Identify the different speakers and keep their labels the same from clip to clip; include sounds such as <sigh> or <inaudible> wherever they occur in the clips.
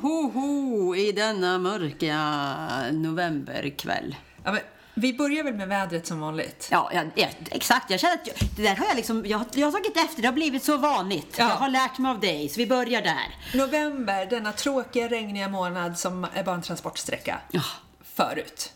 Speaker 1: Hoho, i denna mörka novemberkväll.
Speaker 2: Ja, men vi börjar väl med vädret som vanligt.
Speaker 1: Ja, ja, ja, exakt. Jag känner att jag, det där har jag liksom, jag, har- jag har tagit efter. Det har blivit så vanligt.
Speaker 2: Ja.
Speaker 1: Jag har lärt mig av dig, så vi börjar där.
Speaker 2: November, denna tråkiga regniga månad som är bara en transportsträcka.
Speaker 1: Ja.
Speaker 2: Förut.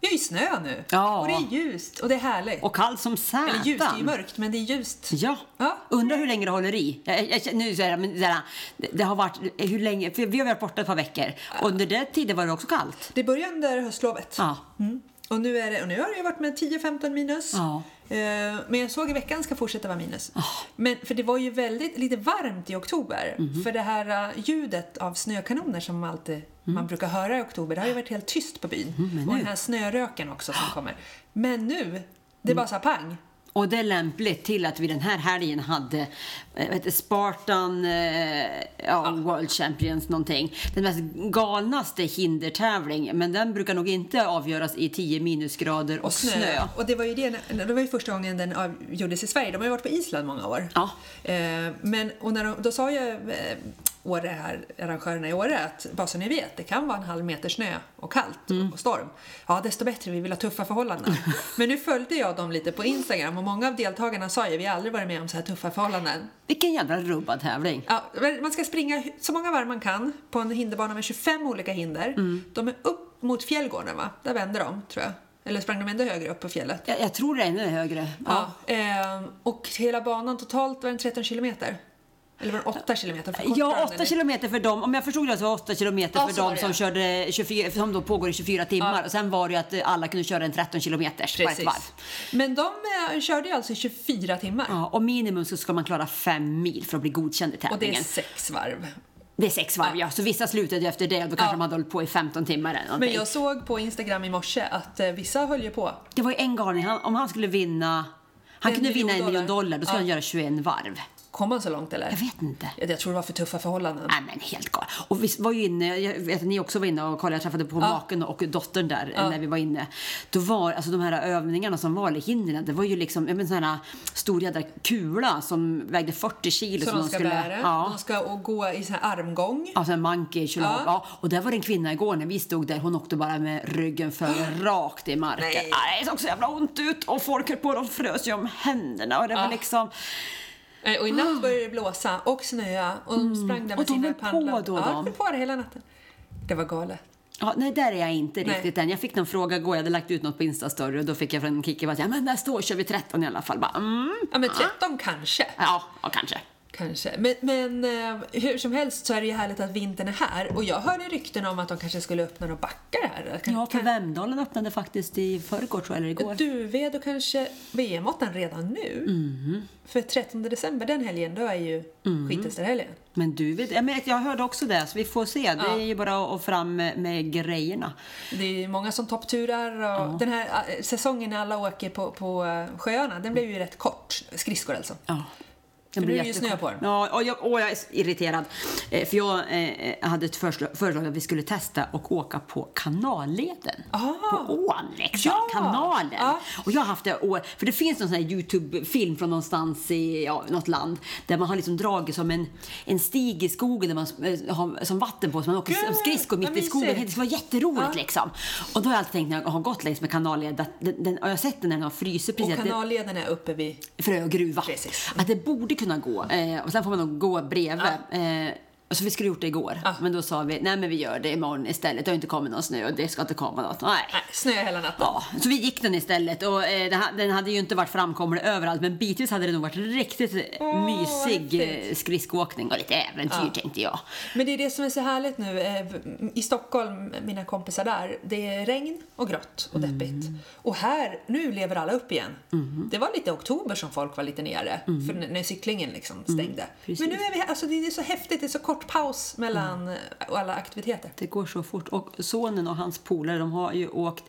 Speaker 2: Det är ju snö nu.
Speaker 1: Mm. Ja.
Speaker 2: Och det är ljust och det är härligt.
Speaker 1: Och kall som sätan.
Speaker 2: Eller ljust, det är ju mörkt men det är ljust.
Speaker 1: Ja.
Speaker 2: Ja.
Speaker 1: Undrar hur länge det håller i. Jag, jag, jag- nu så här, men så här, det, det har varit, hur länge, för vi har varit borta ett par veckor. Och under den tiden var det också kallt.
Speaker 2: Det började under höstlovet.
Speaker 1: Ja.
Speaker 2: Mm. Och, nu är det, och nu har det ju varit med 10-15 minus.
Speaker 1: Ja. Ah.
Speaker 2: Eh, Men jag såg i veckan ska fortsätta vara minus. Men, för det var ju väldigt lite varmt i oktober.
Speaker 1: Mhm.
Speaker 2: För det här eh, ljudet av snökanoner som alltid
Speaker 1: Mm.
Speaker 2: man brukar höra i oktober, det har ju varit helt tyst på byn. och den här snöröken också
Speaker 1: Ah.
Speaker 2: som kommer. Men nu, det är
Speaker 1: Mm.
Speaker 2: bara så här pang.
Speaker 1: Och det är lämpligt till att vi den här helgen hade eh, vad heter Spartan eh, ja, World Champions någonting. Den mest galnaste hindertävling, men den brukar nog inte avgöras i 10 minusgrader och, snö.
Speaker 2: Och det var ju, det, det var ju första gången den avgjordes i Sverige. De har ju varit på Island många år.
Speaker 1: Ja.
Speaker 2: Eh, men, och när de, då sa ju eh, Åre här, arrangörerna i Åre att bara så ni vet, det kan vara en halv meter snö och kallt och storm. Ja, desto bättre, vi vill ha tuffa förhållanden. men nu följde jag dem lite på Instagram och många av deltagarna sa ju vi har aldrig varit med om så här tuffa förhållanden.
Speaker 1: Vilken jävla rubbad tävling.
Speaker 2: Ja, men man ska springa hu- så många varv man kan på en hinderbana med 25 olika hinder. De är upp mot fjällgården va? Där vände de, tror jag. Eller sprang de ändå högre upp på fjället?
Speaker 1: Jag, jag tror det är ännu högre.
Speaker 2: Ja. ehm, och hela banan totalt var den 13 kilometer? Eller var den 8 kilometer? För kortare
Speaker 1: Ja,
Speaker 2: än den är.
Speaker 1: 8 kilometer för dem. Om jag förstod det så var 8 kilometer
Speaker 2: Ja,
Speaker 1: för
Speaker 2: så var
Speaker 1: dem
Speaker 2: det,
Speaker 1: som,
Speaker 2: ja.
Speaker 1: körde 24, som då pågår i 24 timmar. Och sen var det ju att eh, alla kunde köra en 13 kilometers på ett varv.
Speaker 2: Precis. Men de eh, körde ju alltså i 24 timmar.
Speaker 1: Ja, och minimum så ska man klara fem mil för att bli godkänd i
Speaker 2: Och det
Speaker 1: tävlingen.
Speaker 2: är sex varv.
Speaker 1: Det är sex varv, ja. Så vissa slutade ju efter det och då kanske de hade hållit på i 15 timmar eller någonting.
Speaker 2: Men jag såg på Instagram i morse att eh, vissa höll ju på.
Speaker 1: Det var ju en galning, han, om han skulle vinna... Han
Speaker 2: En
Speaker 1: kunde vinna en
Speaker 2: miljon
Speaker 1: miljon
Speaker 2: dollar.
Speaker 1: dollar, då skulle han göra 21 varv.
Speaker 2: Kom man så långt eller?
Speaker 1: Jag vet inte.
Speaker 2: Jag, jag tror det var för tuffa förhållanden.
Speaker 1: Nej men helt galet. Och vi var ju inne, jag vet att ni också var inne och kollade, jag träffade på maken och dottern där eh, när vi var inne. Då var, alltså de här övningarna som var, eller hindren, det var ju liksom, jag menar sån här stor jädra kula som vägde 40 kilo.
Speaker 2: Så
Speaker 1: som
Speaker 2: de ska
Speaker 1: skulle,
Speaker 2: bära, Mm.
Speaker 1: Ja.
Speaker 2: de ska och gå i sån här armgång.
Speaker 1: Alltså en monkey kjolov. Ja.
Speaker 2: Ja.
Speaker 1: Och där var det en kvinna igår när vi stod där. Hon åkte bara med
Speaker 2: <gasps>
Speaker 1: ryggen för rakt i marken.
Speaker 2: Nej.
Speaker 1: Nej. Det såg så jävla ont ut och folk höll på de frös ju om händerna och det
Speaker 2: Ah.
Speaker 1: var liksom...
Speaker 2: Eh, Och i natt började det blåsa och snöa och de sprang där med
Speaker 1: Ah. Mm. Och de
Speaker 2: sina
Speaker 1: höll på
Speaker 2: pannlampor.
Speaker 1: då,
Speaker 2: Ja,
Speaker 1: de.
Speaker 2: de höll på det hela natten. Det var galet.
Speaker 1: Ja, nej, där är jag inte
Speaker 2: Nej.
Speaker 1: riktigt än. Jag fick någon fråga igår. Jag hade lagt ut något på Instastory och då fick jag från Kikki att ja, men nästa år kör vi 13 i alla fall. Bara, mm.
Speaker 2: Ja men 13 kanske.
Speaker 1: Ja, ja, kanske.
Speaker 2: Kanske. Men, men eh, hur som helst så är det ju härligt att vintern är här. Och jag hörde rykten om att de kanske skulle öppna några backar här. Kan,
Speaker 1: Ja, för
Speaker 2: kan,
Speaker 1: Vemdalen öppnade faktiskt i förrgår tror jag, eller igår.
Speaker 2: Duved och kanske VM-åttan redan nu.
Speaker 1: Mhm.
Speaker 2: För 13 december, den helgen, då är ju mm. skitesterhelgen.
Speaker 1: Men du vet, jag, men, jag hörde också det, så vi får se. Det är ju bara att fram med, med grejerna.
Speaker 2: Det är ju många som toppturar och den här eh, säsongen när alla åker på, på eh, sjöarna, den blev ju rätt kort. Skridskor alltså.
Speaker 1: Ja.
Speaker 2: För nu är det ju snö på den.
Speaker 1: Ja, och jag, och jag är så irriterad. Eh, För jag eh, hade ett försla- förslag att vi skulle testa och åka på kanalleden. På ån liksom.
Speaker 2: Ja.
Speaker 1: Kanalen.
Speaker 2: Ja.
Speaker 1: Och jag har haft det, och, för det finns någon sån här Youtube-film från någonstans i ja, något land där man har liksom dragit som en, en stig i skogen där man eh, har, som vatten på så man åker
Speaker 2: Gud,
Speaker 1: som skridskor
Speaker 2: vad
Speaker 1: mitt i skogen.
Speaker 2: mysigt.
Speaker 1: Det skulle vara jätteroligt
Speaker 2: Ja.
Speaker 1: liksom. Och då har jag alltid tänkt när jag har gått längs med kanalleden att den, den, och jag har sett den när den har frusit precis.
Speaker 2: Och
Speaker 1: att den-
Speaker 2: kanalleden är uppe vid...
Speaker 1: frö och gruva.
Speaker 2: Precis.
Speaker 1: Att det borde kunna gå. Eh, och sen får man nog gå bredvid. Eh, så vi skulle gjort det igår. Men då sa vi, nej men vi gör det imorgon istället. Det har inte kommit någon snö och det ska inte komma något. Nej.
Speaker 2: Nej, snö hela natten.
Speaker 1: Ja, så vi gick den istället och eh, den ha- den hade ju inte varit framkomlig överallt men bitvis hade det nog varit riktigt
Speaker 2: Åh,
Speaker 1: mysig
Speaker 2: häftigt.
Speaker 1: eh, skridskoåkning och lite äventyr tänkte jag.
Speaker 2: Men det är det som är så härligt nu. eh, I Stockholm, mina kompisar där, det är regn och grått och
Speaker 1: Mm.
Speaker 2: deppigt. Och här, nu lever alla upp igen. Det var lite oktober som folk var lite nere, för när när cyklingen liksom stängde.
Speaker 1: Mm. precis. Mm.
Speaker 2: Men nu är vi här, alltså det är så häftigt, det är så kort paus mellan eh, alla aktiviteter.
Speaker 1: Det går så fort. Och sonen och hans polare de har ju åkt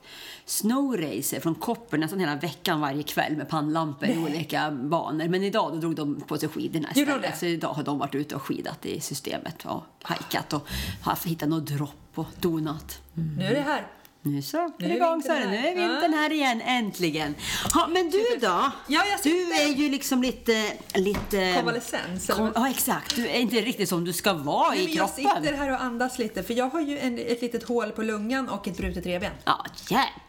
Speaker 1: snowracer från Kopper nästan hela veckan varje kväll med pannlampor i olika banor. Men idag då drog de på sig skidorna
Speaker 2: de det?
Speaker 1: istället. Så idag har de varit ute och skidat i systemet och hajkat och haft- hittat något dropp och donat.
Speaker 2: Nu är det här.
Speaker 1: Nu så, nu
Speaker 2: är
Speaker 1: är igång så
Speaker 2: vintern
Speaker 1: är det. Nu
Speaker 2: här.
Speaker 1: är vintern här igen, äntligen. Ja, men du då?
Speaker 2: Ja, jag
Speaker 1: du
Speaker 2: sitter-
Speaker 1: är ju liksom lite... lite
Speaker 2: Konvalescens, eller
Speaker 1: Kom,
Speaker 2: vad?
Speaker 1: ja, exakt. Du är inte riktigt som du ska vara
Speaker 2: Nej,
Speaker 1: i
Speaker 2: men jag
Speaker 1: kroppen.
Speaker 2: sitter här och andas lite för jag har ju en, ett litet hål på lungan och ett brutet revben.
Speaker 1: Ja,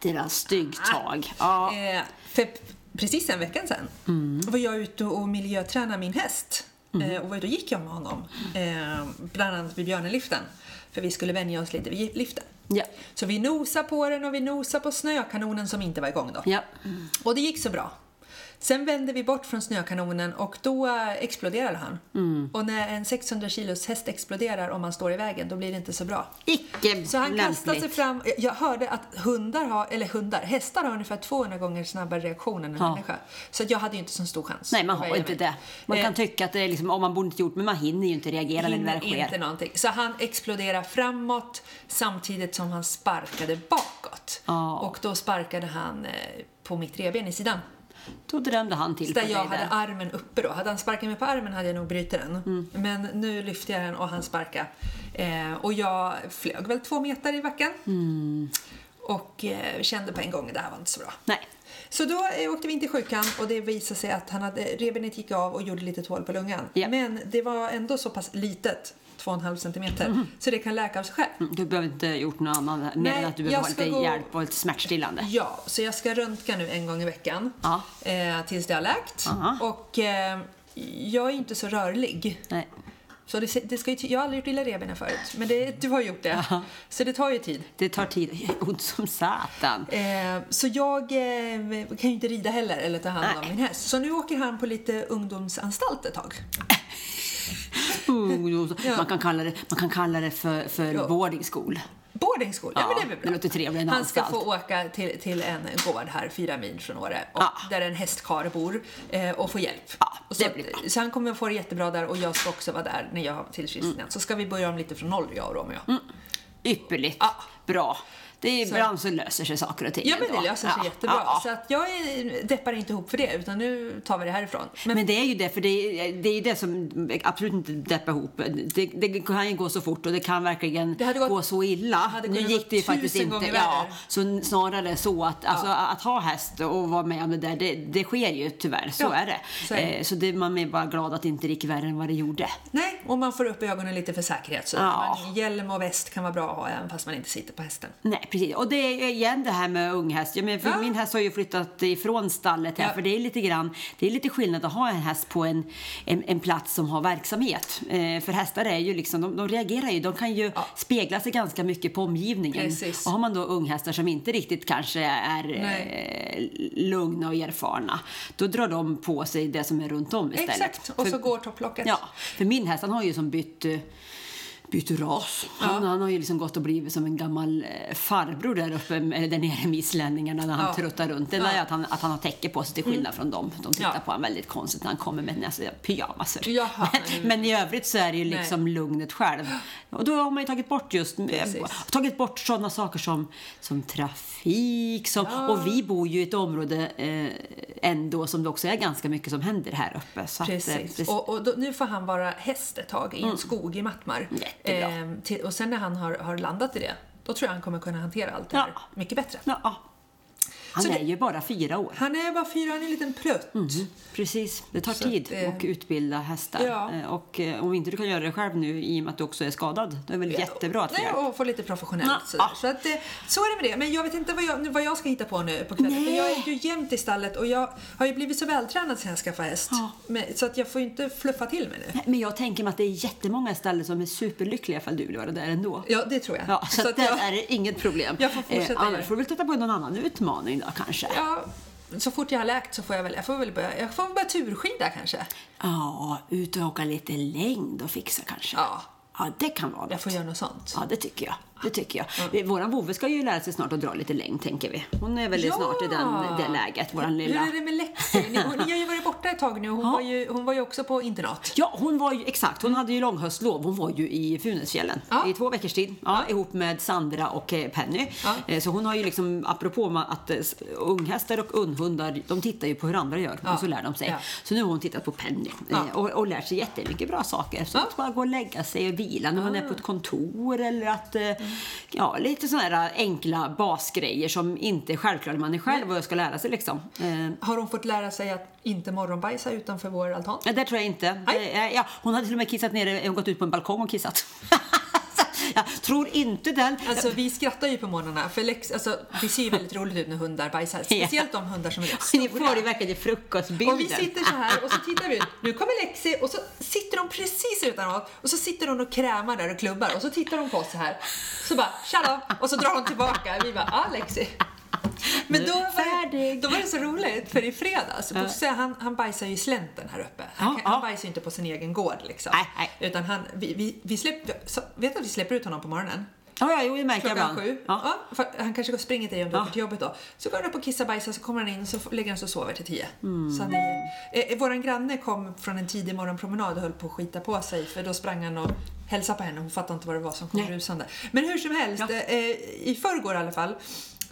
Speaker 1: jädra styggt tag. Ja. Mm.
Speaker 2: Eh, för p- precis en vecka sedan var jag ute och miljötränade min häst. Eh, och var ute och gick jag med honom. Eh, bland annat vid björneliften. För vi skulle vänja oss lite vid liften.
Speaker 1: Ja.
Speaker 2: Så vi nosade på den och vi nosade på snökanonen som inte var igång då. Mm.
Speaker 1: ja.
Speaker 2: Och det gick så bra. Sen vände vi bort från snökanonen och då eh, exploderade han.
Speaker 1: Mm.
Speaker 2: Och när en 600 kilos häst exploderar om man står i vägen, då blir det inte så bra.
Speaker 1: Icke
Speaker 2: Så han kastade sig
Speaker 1: lämpligt.
Speaker 2: fram. Jag hörde att hundar har, eller hundar, hästar har ungefär 200 gånger snabbare reaktion än en
Speaker 1: Ja.
Speaker 2: människa. Så att jag hade ju inte så stor chans.
Speaker 1: Nej, man
Speaker 2: att
Speaker 1: har
Speaker 2: värja
Speaker 1: inte
Speaker 2: mig.
Speaker 1: det. Man
Speaker 2: Eh,
Speaker 1: kan tycka att det är liksom, om man borde inte gjort men man hinner ju inte reagera när det
Speaker 2: hinner
Speaker 1: väl sker.
Speaker 2: inte någonting. Så han exploderar framåt samtidigt som han sparkade bakåt.
Speaker 1: Ja.
Speaker 2: Och då sparkade han eh, på mitt revben i sidan.
Speaker 1: Då drömde han till
Speaker 2: Där
Speaker 1: på
Speaker 2: jag
Speaker 1: dig
Speaker 2: hade armen uppe då. Hade han sparkat mig på armen hade jag nog brutit den. Men nu lyfte jag den och han sparkade. Eh, och jag flög väl två meter i backen. Och eh, kände på en gång att det här var inte så bra.
Speaker 1: Nej.
Speaker 2: Så då eh, åkte vi in till sjukan och det visade sig att han hade, rebenet gick av och gjorde lite hål på lungan.
Speaker 1: Ja.
Speaker 2: Men det var ändå så pass litet, 2,5 centimeter, så det kan läka av sig själv.
Speaker 1: Du behöver inte ha gjort något annat mer
Speaker 2: Nej,
Speaker 1: än att du
Speaker 2: jag
Speaker 1: behöver ha
Speaker 2: ska
Speaker 1: lite
Speaker 2: gå-
Speaker 1: hjälp och lite smärtstillande.
Speaker 2: Ja, så jag ska röntga nu en gång i veckan
Speaker 1: Ja.
Speaker 2: eh, tills det har läkt.
Speaker 1: Aha.
Speaker 2: Och eh, jag är inte så rörlig.
Speaker 1: Nej.
Speaker 2: Så det, det ska ju, ti- jag har aldrig gjort illa revbenen förut, men det, du har gjort det. Så det tar ju tid.
Speaker 1: Det tar tid. Ont
Speaker 2: <laughs>
Speaker 1: som satan.
Speaker 2: Eh, så jag eh, kan ju inte rida heller eller ta hand om
Speaker 1: Nej.
Speaker 2: min häst. Så nu åker han på lite ungdomsanstalt ett tag.
Speaker 1: Ungdoms- Uh, Man kan kalla det, man kan kalla det för, för boarding school.
Speaker 2: Boarding school, ja,
Speaker 1: Ja,
Speaker 2: men det är väl bra.
Speaker 1: det låter trevligare än
Speaker 2: Han ska
Speaker 1: anstalt.
Speaker 2: få åka till, till en gård här fyra mil från Åre och,
Speaker 1: Ja.
Speaker 2: där en hästkar bor eh, och få hjälp.
Speaker 1: Ja,
Speaker 2: Och så,
Speaker 1: det blir bra.
Speaker 2: så han kommer att få det jättebra där och jag ska också vara där när jag har
Speaker 1: Mm.
Speaker 2: tillfrisknat. Så ska vi börja om lite från noll, jag och Romeo.
Speaker 1: Ypperligt.
Speaker 2: Ja.
Speaker 1: Bra. Det är ibland så löser sig saker och ting
Speaker 2: Ja men
Speaker 1: ändå.
Speaker 2: det löser sig
Speaker 1: Ja,
Speaker 2: jättebra.
Speaker 1: ja, ja.
Speaker 2: Så att jag är, deppar inte ihop för det utan nu tar vi det härifrån. Men,
Speaker 1: Men, det är ju det, för det är, det är ju det som absolut inte deppar ihop. Det, det kan ju gå så fort och det kan verkligen
Speaker 2: Det hade gått-
Speaker 1: gå så illa.
Speaker 2: hade
Speaker 1: Nu
Speaker 2: kunnat
Speaker 1: gick det ju
Speaker 2: gått
Speaker 1: faktiskt
Speaker 2: tusen
Speaker 1: inte.
Speaker 2: gånger
Speaker 1: Ja,
Speaker 2: värre.
Speaker 1: så snarare så att, alltså, att ha häst och vara med om det där, det, det sker ju tyvärr. Så
Speaker 2: Ja,
Speaker 1: är det.
Speaker 2: så är det.
Speaker 1: Eh, Så det, man är bara glad att det inte gick värre än vad det gjorde.
Speaker 2: nej, och man får upp ögonen lite för säkerhet. Så
Speaker 1: Ja.
Speaker 2: man, hjälm och väst kan vara bra att ha även fast man inte sitter på hästen.
Speaker 1: Nej, precis. Och det är ju igen det här med unghäst. Jag menar, för
Speaker 2: Ja.
Speaker 1: Min häst har ju flyttat ifrån stallet här
Speaker 2: Ja.
Speaker 1: för det är lite grann, det är lite skillnad att ha en häst på en, en, en plats som har verksamhet. Eh, för hästar är ju liksom, de, de reagerar ju, de kan ju
Speaker 2: Ja.
Speaker 1: spegla sig ganska mycket på omgivningen.
Speaker 2: Precis.
Speaker 1: Och har man då unghästar som inte riktigt kanske är eh, lugna och erfarna, då drar de på sig det som är runt om istället.
Speaker 2: Exakt, och
Speaker 1: För-
Speaker 2: så går topplocket.
Speaker 1: Ja, för min häst han har ju som bytt eh, bytt ras. Han, han har ju liksom gått och blivit som en gammal eh, farbror där uppe, eller där nere med islänningarna när han
Speaker 2: Ja.
Speaker 1: truttar runt. Det enda
Speaker 2: Ja. Mm.
Speaker 1: är att han, att han har täcke på sig till skillnad från dem. De tittar
Speaker 2: Ja.
Speaker 1: på honom väldigt konstigt när han kommer med alltså, pyjamasar.
Speaker 2: Jaha.
Speaker 1: <laughs> Men, men i övrigt så är det ju liksom lugnet själv. Och då har man ju tagit bort just eh,
Speaker 2: Precis.
Speaker 1: tagit bort sådana saker som, som trafik. Som, Och vi bor ju i ett område eh, ändå som det också är ganska mycket som händer här uppe. Så att, eh,
Speaker 2: Precis. Mm.
Speaker 1: precis.
Speaker 2: Och, och då, nu får han vara häst ett tag i en skog i Mattmar.
Speaker 1: Jättebra.
Speaker 2: Ehm, till, och sen när han har, har landat i det, då tror jag han kommer kunna hantera allt det
Speaker 1: Ja.
Speaker 2: här mycket bättre.
Speaker 1: Ja. Han
Speaker 2: Så
Speaker 1: är
Speaker 2: det-
Speaker 1: ju bara fyra år.
Speaker 2: Han är bara fyra, han är en liten prutt.
Speaker 1: Precis, det tar tid
Speaker 2: att, eh,
Speaker 1: att utbilda hästar.
Speaker 2: Ja.
Speaker 1: Eh, Och eh, om inte du kan göra det själv nu i och med att du också är skadad, då är det väl jättebra att få
Speaker 2: Nej,
Speaker 1: hjälp.
Speaker 2: och få lite professionellt.
Speaker 1: Ja.
Speaker 2: sådär. Så, att, eh, så är det med det. Men jag vet inte vad jag, nu- vad jag ska hitta på nu på kvällen. För
Speaker 1: Nej.
Speaker 2: jag är ju jämt i stallet och jag har ju blivit så vältränad sen jag skaffade häst.
Speaker 1: Ja.
Speaker 2: Men, så att jag får ju inte fluffa till mig nu.
Speaker 1: Men jag tänker mig att det är jättemånga ställen som är superlyckliga ifall du vill vara där ändå.
Speaker 2: Ja, det tror jag.
Speaker 1: Ja, så, att där
Speaker 2: jag,
Speaker 1: är det inget problem. Eh,
Speaker 2: Jag får fortsätta göra det.
Speaker 1: annars får du väl titta på någon annan utmaning då kanske.
Speaker 2: ja, så fort jag har läkt så får jag väl, jag får väl börja, jag får väl börja turskida kanske.
Speaker 1: Ja, ut och åka lite längd och fixa kanske.
Speaker 2: Ja.
Speaker 1: ja det kan vara
Speaker 2: Jag
Speaker 1: något.
Speaker 2: får göra något sånt.
Speaker 1: Ja, det tycker jag. Det tycker jag. Våran vovve ska ju lära sig snart att dra lite längd, tänker vi. Hon är väl
Speaker 2: Ja!
Speaker 1: snart i den, det läget, våran lilla...
Speaker 2: Hur är det med läxor? Ni, hon- ni har ju varit borta ett tag nu och hon,
Speaker 1: Ja.
Speaker 2: var, ju, hon var ju också på internat.
Speaker 1: Ja, hon var ju, exakt. Hon hade ju långhöstlov. Hon var ju i Funäsfjällen
Speaker 2: Ja.
Speaker 1: i två veckors tid ja, ihop med Sandra och eh, Penny.
Speaker 2: Ja.
Speaker 1: Eh, Så hon har ju liksom, apropå ma- att eh, s- unghästar och unghundar, de tittar ju på hur andra gör
Speaker 2: Ja.
Speaker 1: och så lär de sig.
Speaker 2: Ja.
Speaker 1: Så nu har hon tittat på Penny eh,
Speaker 2: Ja.
Speaker 1: och, och
Speaker 2: Ah. Mm.
Speaker 1: lärt sig jättemycket bra saker. Så att bara gå och lägga sig och vila när man är på ett kontor eller att eh, ja, lite sådana här enkla basgrejer som inte är självklara när man är själv och ska lära sig liksom. Eh,
Speaker 2: Har hon fått lära sig att inte morgonbajsa utanför vår altan?
Speaker 1: Nej, det tror jag inte.
Speaker 2: Nej.
Speaker 1: Eh, Ja, hon hade till och med kissat nere, hon gått ut på en balkong och kissat. <laughs> Så, jag tror inte den.
Speaker 2: Alltså vi skrattar ju på morgnarna för Lex, alltså, det ser ju väldigt roligt ut när hundar bajsar. Speciellt de hundar som är rätt
Speaker 1: <laughs> Ni får det verkligen i frukostbilden.
Speaker 2: Och vi sitter så här och så tittar vi ut. Nu kommer Lexi och så sitter de precis utanför och så sitter hon och krämar där och klubbar och så tittar hon på oss så här. Så bara tja då! och så drar hon tillbaka. Vi bara ah Lexi. Men då var, det,
Speaker 1: Färdig.
Speaker 2: då var det så roligt för i fredags, Bosse han, han bajsar ju i slänten här uppe. Han,
Speaker 1: Ja,
Speaker 2: kan, han
Speaker 1: ja.
Speaker 2: bajsar ju inte på sin egen gård liksom.
Speaker 1: Nej, nej.
Speaker 2: Utan han, vi, vi, vi släpper, så, vet du att vi släpper ut honom på morgonen?
Speaker 1: Ja, ja, jo, det märker jag
Speaker 2: Klockan
Speaker 1: ibland.
Speaker 2: sju.
Speaker 1: Ja.
Speaker 2: Ja. för han kanske går och springer till dig om du åker till jobbet då. Så går han upp och kissar bajsar så kommer han in och så f- lägger han sig och sover till tio.
Speaker 1: Mm.
Speaker 2: Så han är, eh, eh, våran granne kom från en tidig morgonpromenad och höll på att skita på sig för då sprang han och hälsade på henne. Hon fattade inte vad det var som kom
Speaker 1: Nej.
Speaker 2: rusande. Men hur som helst, eh, eh, i förrgår i alla fall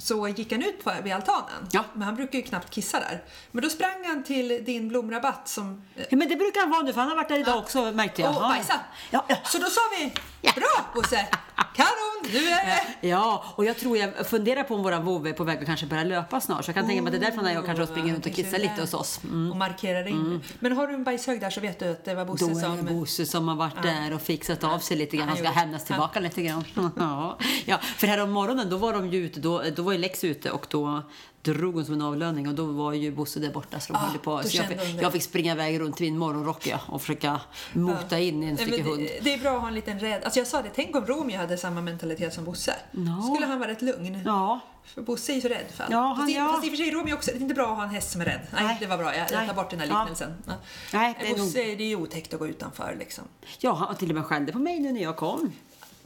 Speaker 2: så gick han ut på, vid altanen.
Speaker 1: Ja.
Speaker 2: Men han brukar ju knappt kissa där. Men då sprang han till din blomrabatt som... eh,
Speaker 1: Ja, Men det brukar han vara nu, för han har varit där idag också märkte jag.
Speaker 2: Och
Speaker 1: Ja.
Speaker 2: bajsa.
Speaker 1: Ja, ja.
Speaker 2: Så då sa vi,
Speaker 1: Ja.
Speaker 2: bra Bosse! Kanon, nu är det!
Speaker 1: Ja, och jag tror jag funderar på om våran vovve är på väg att kanske börja löpa snart. Så jag kan tänka mig att det är därför när jag kanske springer runt och kissar lite hos oss.
Speaker 2: eh,
Speaker 1: Mm.
Speaker 2: Och markerar in. Men har du en bajshög där så vet du att det var Bosse
Speaker 1: Då är det
Speaker 2: som...
Speaker 1: Bosse som har varit där och fixat av sig lite
Speaker 2: Han
Speaker 1: grann. Han ska
Speaker 2: gjorde-
Speaker 1: hämnas tillbaka lite grann. <laughs> Ja. ja, för här om morgonen då var de ju ute, då, då var ju Lex ute och då drog hon som en avlöning och då var ju Bosse där borta så de
Speaker 2: Ah,
Speaker 1: höll på.
Speaker 2: då
Speaker 1: Så jag,
Speaker 2: kände hon
Speaker 1: fick,
Speaker 2: det.
Speaker 1: jag fick springa iväg runt i min morgonrock ja, och försöka mota in en
Speaker 2: Nej,
Speaker 1: stycke
Speaker 2: men
Speaker 1: hund.
Speaker 2: det, det är bra att ha en liten rädd... Alltså jag sa det, tänk om Romeo hade samma mentalitet som Bosse.
Speaker 1: Ja.
Speaker 2: skulle han vara rätt lugn.
Speaker 1: Ja,
Speaker 2: För Bosse är ju så rädd för allt.
Speaker 1: Ja,
Speaker 2: fast,
Speaker 1: han-
Speaker 2: i-
Speaker 1: ja.
Speaker 2: fast i och för sig Romeo också, det är inte bra att ha en häst som är rädd. Nej,
Speaker 1: Nej.
Speaker 2: det var bra. Jag, jag
Speaker 1: Nej.
Speaker 2: tar bort den här
Speaker 1: Ja.
Speaker 2: liknelsen. Ja.
Speaker 1: Nej, det är
Speaker 2: Bosse, det är ju otäckt att gå utanför liksom.
Speaker 1: ja han till och med skällde på mig nu när jag kom.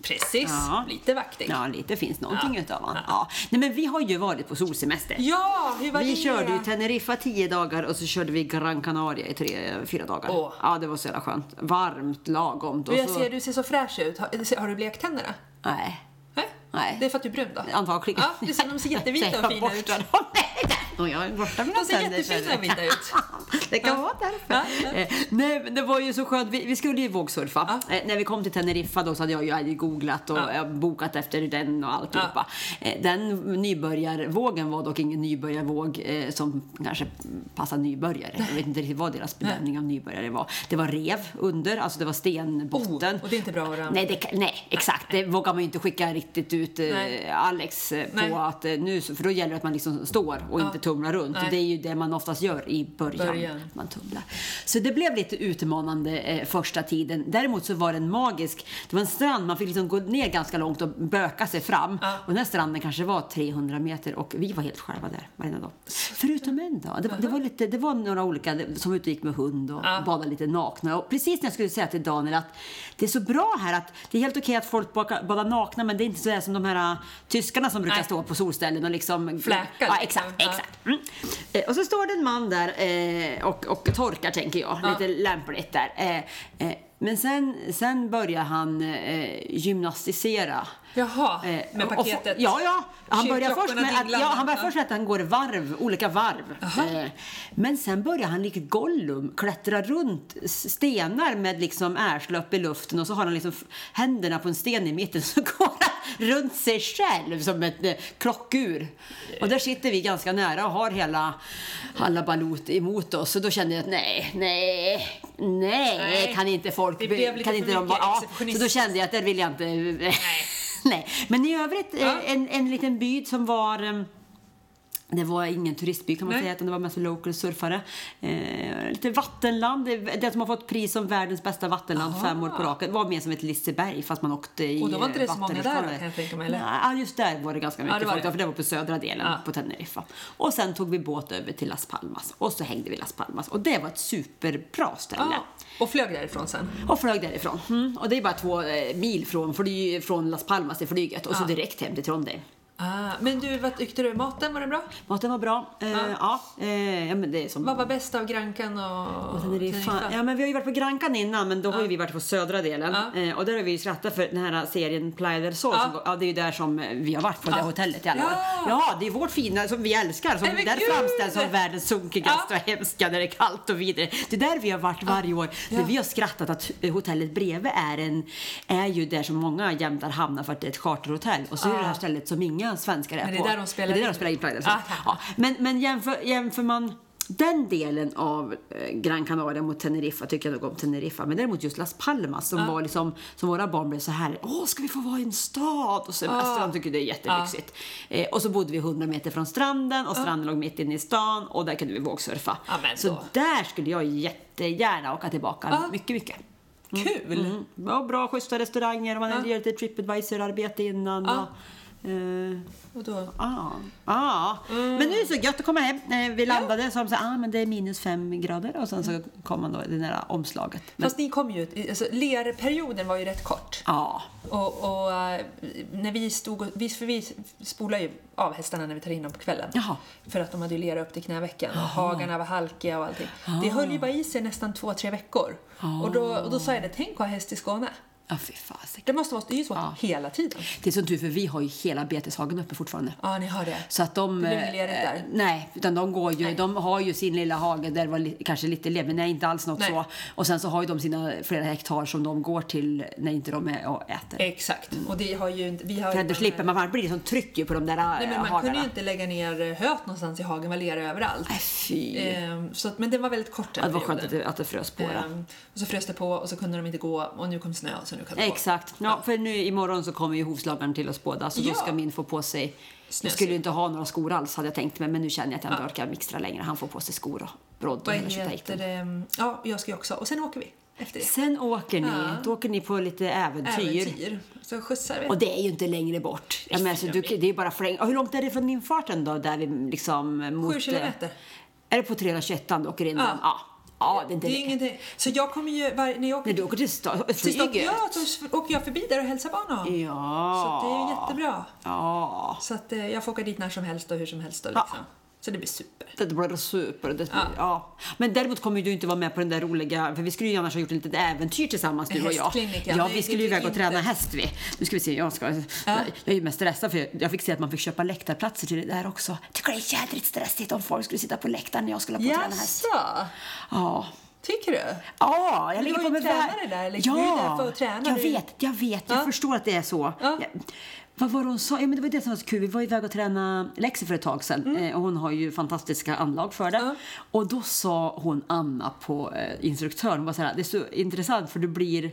Speaker 2: Precis,
Speaker 1: Ja.
Speaker 2: lite vaktig. Ja.
Speaker 1: Ja, lite finns någonting utav honom. Ja. Nej, men vi har ju varit på solsemester.
Speaker 2: hur var
Speaker 1: Vi
Speaker 2: det?
Speaker 1: körde ju Teneriffa 10 dagar och så körde vi Gran Canaria i tre, fyra dagar.
Speaker 2: Åh.
Speaker 1: Ja, det var så jävla skönt. Varmt, lagom.
Speaker 2: Du,
Speaker 1: Och
Speaker 2: jag
Speaker 1: så...
Speaker 2: ser, du ser så fräsch ut. Har, har du blekt tänderna?
Speaker 1: Nej,
Speaker 2: Nej.
Speaker 1: Nej.
Speaker 2: Det är för att du är brun då?
Speaker 1: antagligen.
Speaker 2: Ja, du ser, de ser
Speaker 1: <laughs> Så
Speaker 2: jättevita
Speaker 1: jag
Speaker 2: och fina ut.
Speaker 1: borstar dem. Nej, Och jag är borta med
Speaker 2: De ser jättefina och vita ut.
Speaker 1: Det kan
Speaker 2: Ja.
Speaker 1: vara
Speaker 2: Ja,
Speaker 1: därför.
Speaker 2: ja.
Speaker 1: Eh, Nej, men det var ju så skönt. Vi, vi skulle ju vågsurfa. Eh, När vi kom till Teneriffa då så hade jag ju jag hade ju googlat och eh, bokat efter den och alltihopa. Eh, Den nybörjarvågen var dock ingen nybörjarvåg eh, som kanske passar nybörjare. Jag vet inte riktigt vad deras bedömning av nybörjare var. Det var rev under, alltså det var stenbotten.
Speaker 2: Oh, och det är inte bra att ramla.
Speaker 1: Nej, det, kan- nej, exakt. Det vågar man ju inte skicka riktigt ut eh,
Speaker 2: Nej.
Speaker 1: Alex eh, på
Speaker 2: Nej.
Speaker 1: att eh, nu, för då gäller det att man liksom står och inte tumlar runt.
Speaker 2: Nej.
Speaker 1: Det är ju det man oftast gör i början.
Speaker 2: Början.
Speaker 1: Man tumlar. Så det blev lite utmanande eh, första tiden. Däremot så var den magisk. Det var en strand, man fick liksom gå ner ganska långt och böka sig fram. Och den här stranden kanske var 300 meter och vi var helt själva där varenda dag. Förutom en dag. Det, var- det, var, lite, det var några olika det- som ute och gick med hund och badade lite nakna. Och precis när jag skulle säga till Daniel att det är så bra här att det är helt okej att folk baka- badar nakna men det är inte så där som de här äh, tyskarna som brukar
Speaker 2: Nej.
Speaker 1: stå på solställen och liksom
Speaker 2: Fläkar
Speaker 1: Ja,
Speaker 2: liksom.
Speaker 1: exakt,
Speaker 2: Ja.
Speaker 1: exakt. Mm. Eh, Och så står det en man där eh, och, och torkar, tänker jag. Lite lämpligt där. Eh, eh, men sen, sen börjar han eh, gymnastisera.
Speaker 2: Jaha,
Speaker 1: Eh,
Speaker 2: med
Speaker 1: och få-
Speaker 2: paketet.
Speaker 1: Ja, ja. Han börjar först
Speaker 2: Kyrklockorna
Speaker 1: med att, ja,
Speaker 2: dinglande.
Speaker 1: han börjar
Speaker 2: Ja.
Speaker 1: först med att han går varv, olika varv. Eh, men sen börjar han likt Gollum klättra runt s- stenar med liksom ärsle i luften och så har han liksom f- händerna på en sten i mitten <laughs> så går han runt sig själv som ett eh, klockur. Och där sitter vi ganska nära och har hela alla balut emot oss. Så då kände jag att nej, nej, nej,
Speaker 2: Nej.
Speaker 1: kan inte folk...
Speaker 2: Det blev lite
Speaker 1: kan
Speaker 2: för
Speaker 1: inte de
Speaker 2: mycket
Speaker 1: bara, ja. Så
Speaker 2: exceptionistiskt.
Speaker 1: då kände jag att det vill jag inte... <laughs> Nej. Men i övrigt, eh,
Speaker 2: Ja.
Speaker 1: en, en liten by som var... eh, Det var ingen turistby kan man
Speaker 2: Nej.
Speaker 1: säga, utan det var mest local surfare. Eh, lite vattenland, det, det som har fått pris som världens bästa vattenland fem år på raken. var mer som ett Liseberg fast man åkte i
Speaker 2: Och då var inte det så många där då,
Speaker 1: vattenrutschkanor.
Speaker 2: kan jag tänka mig, eller?
Speaker 1: Nej, ja, just där var det ganska mycket
Speaker 2: det var
Speaker 1: folk,
Speaker 2: det.
Speaker 1: för det var på södra delen
Speaker 2: Ja.
Speaker 1: på Teneriffa. Och sen tog vi båt över till Las Palmas och så hängde vi i Las Palmas och det var ett superbra ställe.
Speaker 2: Ja, och flög därifrån sen.
Speaker 1: Och flög därifrån. Mm. Och det är bara två eh, mil från, fly, från Las Palmas till flyget och så direkt hem till Trondheim.
Speaker 2: Ah, men du, vad tyckte du? Maten, var den bra?
Speaker 1: Maten var bra. Eh, ja. Eh, ja, men det är som...
Speaker 2: Vad var bäst av Grankan och,
Speaker 1: Och sen är det ju fan,
Speaker 2: Teneriffa?
Speaker 1: ja, men vi har ju varit på Grankan innan men då har ju vi varit på södra delen
Speaker 2: Ja.
Speaker 1: eh, och där har vi ju skrattat för den här serien Playa del Sol.
Speaker 2: Ja.
Speaker 1: Som, går- ja, det är ju där som eh, vi har varit på det hotellet i alla
Speaker 2: Ja.
Speaker 1: år. Ja, det är vårt fina som vi älskar som
Speaker 2: Nej, men
Speaker 1: där
Speaker 2: gud!
Speaker 1: framställs som världens sunkigaste
Speaker 2: Ja.
Speaker 1: och hemska när det är kallt och vidare. Det är där vi har varit varje år.
Speaker 2: Ja.
Speaker 1: För vi har skrattat att eh, hotellet bredvid är, en, är ju där som många jämtar hamnar för att det är ett charterhotell och så är det det här stället som inga svenskar är
Speaker 2: Men det är
Speaker 1: på.
Speaker 2: där de spelar
Speaker 1: det är där
Speaker 2: in.
Speaker 1: de spelar in Playa del
Speaker 2: Ah,
Speaker 1: Sol.
Speaker 2: tack.
Speaker 1: Ja. Men, men jämför, jämför man den delen av eh, Gran Canaria mot Teneriffa tycker jag nog om Teneriffa. Men däremot just Las Palmas som var liksom, som våra barn blev så här, åh ska vi få vara i en stad och semester? De tycker det är jättelyxigt. Eh, och så bodde vi 100 meter från stranden och stranden låg mitt inne i stan och där kunde vi vågsurfa.
Speaker 2: Ja, men
Speaker 1: så
Speaker 2: då.
Speaker 1: där skulle jag jättegärna åka tillbaka mycket, mycket.
Speaker 2: Kul!
Speaker 1: Mm. Ja, bra, schyssta restauranger och man gör lite tripadvisor-arbete innan. Och, eh,
Speaker 2: Och då,
Speaker 1: Ja, ja. Ah,
Speaker 2: Mm.
Speaker 1: Men nu är det så gött att komma hem. Eh, Vi landade så de sa ah, men det är minus fem grader och sen så kom man då i det där omslaget. Men,
Speaker 2: Fast ni kom ju, ut- alltså, lerperioden var ju rätt kort.
Speaker 1: ja,
Speaker 2: Och, och eh, när vi stod och, vi, för vi spolar ju av hästarna när vi tar in dem på kvällen.
Speaker 1: Jaha.
Speaker 2: För att de hade ju lera upp till knävecken och hagarna var halkiga och allting. Det höll ju bara i sig nästan två, tre veckor. Och, då, och då sa jag det, tänk att ha häst i Skåne.
Speaker 1: ja ah, fy fasiken.
Speaker 2: Det måste vara, det är ju så hela tiden.
Speaker 1: Det är som tur för vi har ju hela beteshagen uppe fortfarande.
Speaker 2: Ja, ni har det.
Speaker 1: Så att de...
Speaker 2: Det blir inget lerigt där.
Speaker 1: eh, Nej, utan de går ju, de har ju sin lilla hage där det var li, kanske lite ler, men nej, inte alls något
Speaker 2: Nej.
Speaker 1: så. Och sen så har ju de sina flera hektar som de går till när inte de är och äter.
Speaker 2: Exakt. Och det har ju inte, vi har
Speaker 1: Mm. För
Speaker 2: ju
Speaker 1: att då slipper man, man blir liksom tryck ju på de där eh,
Speaker 2: Nej, men man kunde
Speaker 1: hagarna.
Speaker 2: ju inte lägga ner eh, höet någonstans i hagen, var lera överallt.
Speaker 1: Nej, fy.
Speaker 2: Ehm, så att, men det var väldigt kort den
Speaker 1: Ja, det var skönt
Speaker 2: perioden.
Speaker 1: att det, att det frös på. då.
Speaker 2: Ehm, och så frös det på och så kunde de inte gå och nu kom snö så nu kan de gå.
Speaker 1: Exakt. Ja, för nu imorgon så kommer ju hovslagaren till oss båda så
Speaker 2: Ja.
Speaker 1: då ska min få på sig
Speaker 2: Snöskor.
Speaker 1: jag skulle ju inte ha några skor alls hade jag tänkt mig men nu känner jag att jag inte orkar mixtra längre. Han får på sig skor och brodd och
Speaker 2: Vad
Speaker 1: hela
Speaker 2: heter
Speaker 1: tjotahejten.
Speaker 2: det? Ja, jag ska ju också. Och sen åker vi efter det.
Speaker 1: Sen åker ni,
Speaker 2: Ja.
Speaker 1: då åker ni på lite äventyr.
Speaker 2: Äventyr. Så skjutsar vi.
Speaker 1: Och det är ju inte längre bort. Ja, men alltså, du, det är ju bara fläng. Och hur långt är det från infarten då? Där vi liksom mot,
Speaker 2: Sju kilometer.
Speaker 1: Är det på 321 du åker in? Ja. ja. Ja, det är inte
Speaker 2: det är ingenting. Så jag kommer ju, var, när jag åker
Speaker 1: När du åker till sta-
Speaker 2: till Stockholm,
Speaker 1: flyget?
Speaker 2: ja, så åker jag förbi där och hälsar på honom.
Speaker 1: Ja.
Speaker 2: Så att det är ju jättebra.
Speaker 1: Ja.
Speaker 2: Så att eh, jag får åka dit när som helst och hur som helst. Då, liksom. Så det blir super.
Speaker 1: Det blir super. Det, ja. Men däremot kommer ju du inte vara med på den där roliga, för vi skulle ju annars ha gjort ett litet äventyr tillsammans du och jag.
Speaker 2: Hästkliniken,
Speaker 1: Ja,
Speaker 2: det
Speaker 1: vi
Speaker 2: fick
Speaker 1: skulle ju
Speaker 2: vi
Speaker 1: iväg och
Speaker 2: inte.
Speaker 1: träna häst vi. Nu ska vi se, jag ska... Jag är ju mest stressad för jag fick se att man fick köpa läktarplatser till det där också. Tycker det är jädrigt stressigt om folk skulle sitta på läktaren när jag skulle på och träna häst.
Speaker 2: Jaså?
Speaker 1: Ja.
Speaker 2: Tycker du?
Speaker 1: Ja, jag
Speaker 2: du
Speaker 1: ligger
Speaker 2: har
Speaker 1: på
Speaker 2: ju
Speaker 1: mig
Speaker 2: tränare där, liksom. Du är ju där för att träna.
Speaker 1: Jag
Speaker 2: Du är ju-
Speaker 1: vet, jag vet. Jag förstår att det är så. Jag, vad var det hon sa? Ja, men det var det som var så kul. Vi var iväg och tränade läxor för ett tag sedan.
Speaker 2: Mm.
Speaker 1: Eh, och hon har ju fantastiska anlag för det. Och då sa hon Anna på eh, instruktören, hon var så här, det är så intressant för du blir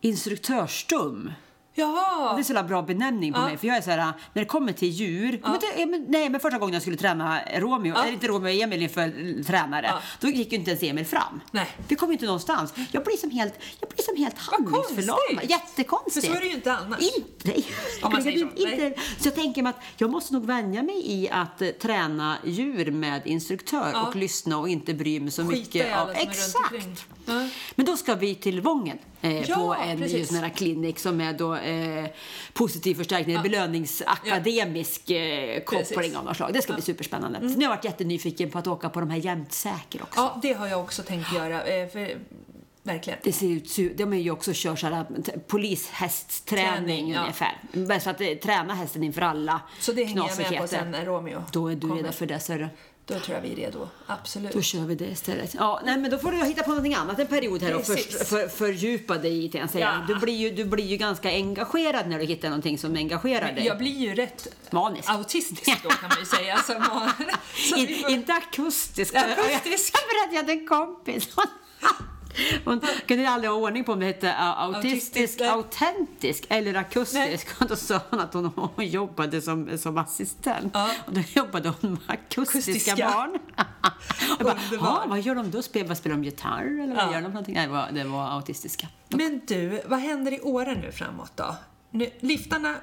Speaker 1: instruktörsstum.
Speaker 2: Jaha!
Speaker 1: Det är så jävla bra benämning på mig. För jag är så här, äh, när det kommer till djur. Men det, men, nej, men första gången jag skulle träna Romeo, eller inte Romeo, Emil inför eh, tränare. Då gick ju inte ens Emil fram.
Speaker 2: Nej.
Speaker 1: Vi kom ju inte någonstans. Jag blir som helt, jag blir som helt handlingsförlamad.
Speaker 2: konstigt.
Speaker 1: Jättekonstigt.
Speaker 2: För så är det ju inte annars.
Speaker 1: Inte.
Speaker 2: Om man säger så.
Speaker 1: inte. så jag tänker mig att jag måste nog vänja mig i att eh, träna djur med instruktör och lyssna och inte bry mig så
Speaker 2: Skita i
Speaker 1: mycket.
Speaker 2: alla som är runt omkring.
Speaker 1: Exakt.
Speaker 2: Ja.
Speaker 1: Men då ska vi till Vången eh,
Speaker 2: Ja,
Speaker 1: på en
Speaker 2: precis.
Speaker 1: just den här klinik som är då eh, positiv förstärkning, belöningsakademisk eh, koppling
Speaker 2: Precis. Mm.
Speaker 1: av något slag. Det ska bli superspännande. Så nu har jag varit jättenyfiken på att åka på de här jämtsäker också.
Speaker 2: Ja, det har jag också tänkt göra. eh, För, verkligen.
Speaker 1: Det ser ut, su- de är ju också kör så här, t- polishästträning
Speaker 2: Träning, ja.
Speaker 1: ungefär. Men Så att eh, träna hästen inför alla
Speaker 2: Så det hänger jag med på
Speaker 1: knasigheter.
Speaker 2: sen när Romeo
Speaker 1: Då är du
Speaker 2: kommer.
Speaker 1: redo för det, ser du.
Speaker 2: Då tror jag vi är redo. Absolut.
Speaker 1: Då kör vi det istället. Ja, nej, men då får du hitta på någonting annat en period här och för,
Speaker 2: Precis.
Speaker 1: för, fördjupa dig i det. jag säger.
Speaker 2: Ja.
Speaker 1: Du, blir ju, du blir ju ganska engagerad när du hittar någonting som engagerar dig.
Speaker 2: Jag blir ju rätt
Speaker 1: Manisk.
Speaker 2: autistisk då kan man ju säga. Alltså,
Speaker 1: <laughs>
Speaker 2: man, <laughs> så att vi
Speaker 1: In,
Speaker 2: får,
Speaker 1: inte akustisk.
Speaker 2: Akustisk.
Speaker 1: Jag berättade jag hade en kompis. <laughs> Hon kunde aldrig ha ordning på om det hette uh,
Speaker 2: Autistisk,
Speaker 1: autistisk,
Speaker 2: nej.
Speaker 1: autentisk eller akustisk. <laughs>
Speaker 2: Nej.
Speaker 1: Och då sa hon att hon, hon jobbade som, som assistent.
Speaker 2: Ja.
Speaker 1: Och då jobbade hon med akustiska,
Speaker 2: Akustiska.
Speaker 1: barn.
Speaker 2: <laughs>
Speaker 1: Jag bara,
Speaker 2: Underbart.
Speaker 1: "Ja, vad gör de då? Spel, vad spelar de gitarr eller vad
Speaker 2: Ja.
Speaker 1: gör de för någonting? Nej, det var, det var autistiska.
Speaker 2: men du, vad händer i Åre nu framåt då? Nu, liftarna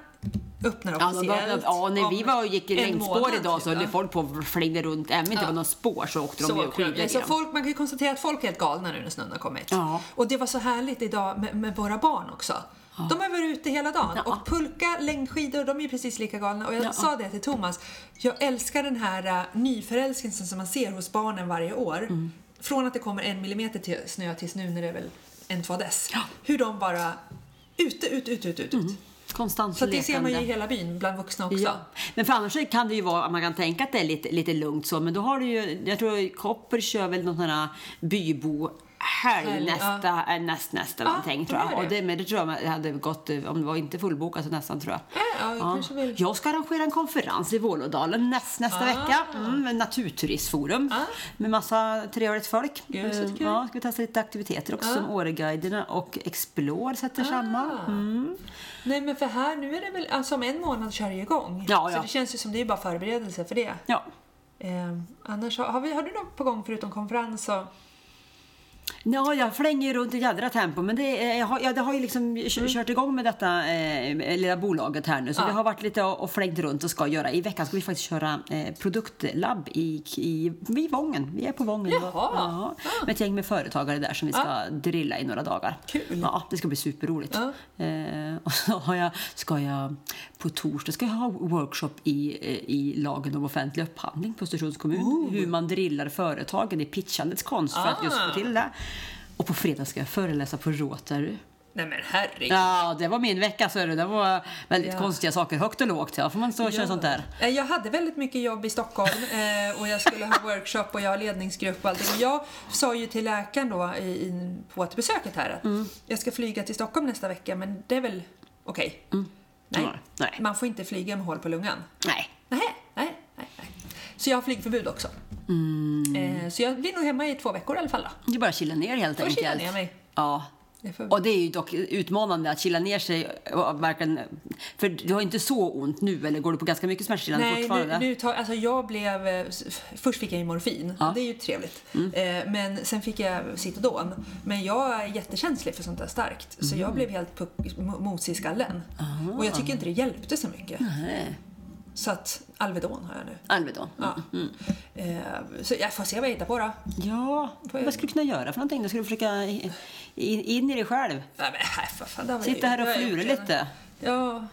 Speaker 2: öppnar
Speaker 1: Ja, Alltså, de,
Speaker 2: officiellt.
Speaker 1: ja, när vi
Speaker 2: om
Speaker 1: var och gick i
Speaker 2: en
Speaker 1: längdspår
Speaker 2: månad,
Speaker 1: idag så
Speaker 2: typ,
Speaker 1: höll
Speaker 2: ja.
Speaker 1: folk på och flängde runt. Även om det inte var någon spår så åkte de
Speaker 2: Så,
Speaker 1: ju skidor
Speaker 2: otroligt. så
Speaker 1: igen.
Speaker 2: folk, man kan ju konstatera att folk är helt galna nu när snön har kommit.
Speaker 1: Ja.
Speaker 2: Och det var så härligt idag med, med våra barn också. De har varit ute hela dagen.
Speaker 1: Ja.
Speaker 2: Och pulka, längdskidor, de är ju precis lika galna. Och jag sa det till Thomas, jag älskar den här äh, nyförälskelsen som man ser hos barnen varje år.
Speaker 1: Mm.
Speaker 2: Från att det kommer en millimeter till snö tills nu när det är väl en, två dess. Hur de bara ute, ut, ut, ut, ut. ut.
Speaker 1: Konstant
Speaker 2: Så att det ser man ju i
Speaker 1: Mm. lekande.
Speaker 2: hela byn, bland vuxna också.
Speaker 1: Ja. Men för annars kan det ju vara att man kan tänka att det är lite, lite lugnt så. Men då har du ju, jag tror Kopper kör väl någon sån här bybo helg
Speaker 2: Helg,
Speaker 1: nästa, eh, näst, nästa
Speaker 2: Ja,
Speaker 1: någonting
Speaker 2: då
Speaker 1: tror jag.
Speaker 2: gör det.
Speaker 1: Och det, men det tror jag det hade gått, eh, om det var inte fullbokat så nästan tror jag.
Speaker 2: Ja, ja, jag kanske vill-
Speaker 1: Jag ska arrangera en konferens i Vålådalen näst, nästa
Speaker 2: Ah.
Speaker 1: vecka. Mm, med naturturistforum
Speaker 2: Ah.
Speaker 1: med massa trevligt folk.
Speaker 2: Gud, så
Speaker 1: Eh,
Speaker 2: kul.
Speaker 1: ja, ska vi testa lite aktiviteter också
Speaker 2: Ah.
Speaker 1: som Åreguiderna och Explore sätter samman. Mm.
Speaker 2: Ah. Nej men för här, nu är det väl, alltså om en månad kör det igång.
Speaker 1: Ja,
Speaker 2: Så
Speaker 1: ja.
Speaker 2: det känns ju som det är bara förberedelse för det.
Speaker 1: Ja.
Speaker 2: Eh, annars, har, har, vi, har du något på gång förutom konferens och...
Speaker 1: Ja, jag flänger ju runt i jädra tempo. Men det, är- jag, har, jag det har ju liksom kö- kört igång med detta eh, lilla bolaget här nu. Så
Speaker 2: Mm. Ja.
Speaker 1: det har varit lite och, och flängt runt och ska göra. I veckan ska vi faktiskt köra eh, produktlabb i, i, i Vången. Vi är på Vången.
Speaker 2: Jaha.
Speaker 1: Ja, med ett gäng med företagare där som vi ska drilla i några dagar.
Speaker 2: Kul.
Speaker 1: Ja, det ska bli superroligt. Eh, och så har jag, ska jag på torsdag ska jag ha workshop i, eh, i lagen om offentlig upphandling på Östersunds kommun.
Speaker 2: Oh.
Speaker 1: Hur man drillar företagen i pitchandets konst för att just
Speaker 2: Ah.
Speaker 1: få till det. Och på fredag ska jag föreläsa på Rotary.
Speaker 2: Nej men herregud.
Speaker 1: Ja, det var min vecka. Så det var väldigt
Speaker 2: Ja.
Speaker 1: konstiga saker, högt och lågt. Ja, får man stå och köra sånt där.
Speaker 2: Eh, Jag hade väldigt mycket jobb i Stockholm <laughs> eh, och jag skulle ha workshop och jag har ledningsgrupp och allting. Jag sa ju till läkaren då i, i, på återbesöket här att
Speaker 1: Mm.
Speaker 2: jag ska flyga till Stockholm nästa vecka men det är väl okej? Nej.
Speaker 1: Ja, Mm. nej.
Speaker 2: man får inte flyga med hål på lungan.
Speaker 1: Nej.
Speaker 2: Nej, nej, nej, nej. Så jag har flygförbud också.
Speaker 1: Mm.
Speaker 2: Eh, så jag blir nog hemma i två veckor i alla fall då.
Speaker 1: Det är bara att chilla ner helt
Speaker 2: Får
Speaker 1: enkelt.
Speaker 2: chilla ner mig.
Speaker 1: Ja.
Speaker 2: Jag får-
Speaker 1: Och det är ju dock utmanande att chilla ner sig. Och verkligen, för du har inte så ont nu, eller går du på ganska mycket smärtstillande
Speaker 2: Nej,
Speaker 1: fortfarande?
Speaker 2: nu, nu tar, alltså jag blev... eh, s- Först fick jag ju morfin,
Speaker 1: Ja. Mm.
Speaker 2: det är ju trevligt. Eh, men sen fick jag Citodon. Men jag är jättekänslig för sånt där starkt. Så
Speaker 1: Mm.
Speaker 2: jag blev helt puck, mo- mosig i skallen. Och jag tycker inte det hjälpte så mycket.
Speaker 1: Nej.
Speaker 2: Så att Alvedon har jag nu.
Speaker 1: Alvedon.
Speaker 2: Ja.
Speaker 1: Mm.
Speaker 2: Eh, så jag får se vad jag hittar på då.
Speaker 1: Ja, vad skulle du kunna göra för någonting? Då skulle du försöka i- in, in i dig själv.
Speaker 2: Nej, men, här, för fan, det har jag
Speaker 1: Sitta här och
Speaker 2: gjort. Det har jag
Speaker 1: flura
Speaker 2: gjort redan.
Speaker 1: lite.
Speaker 2: Ja,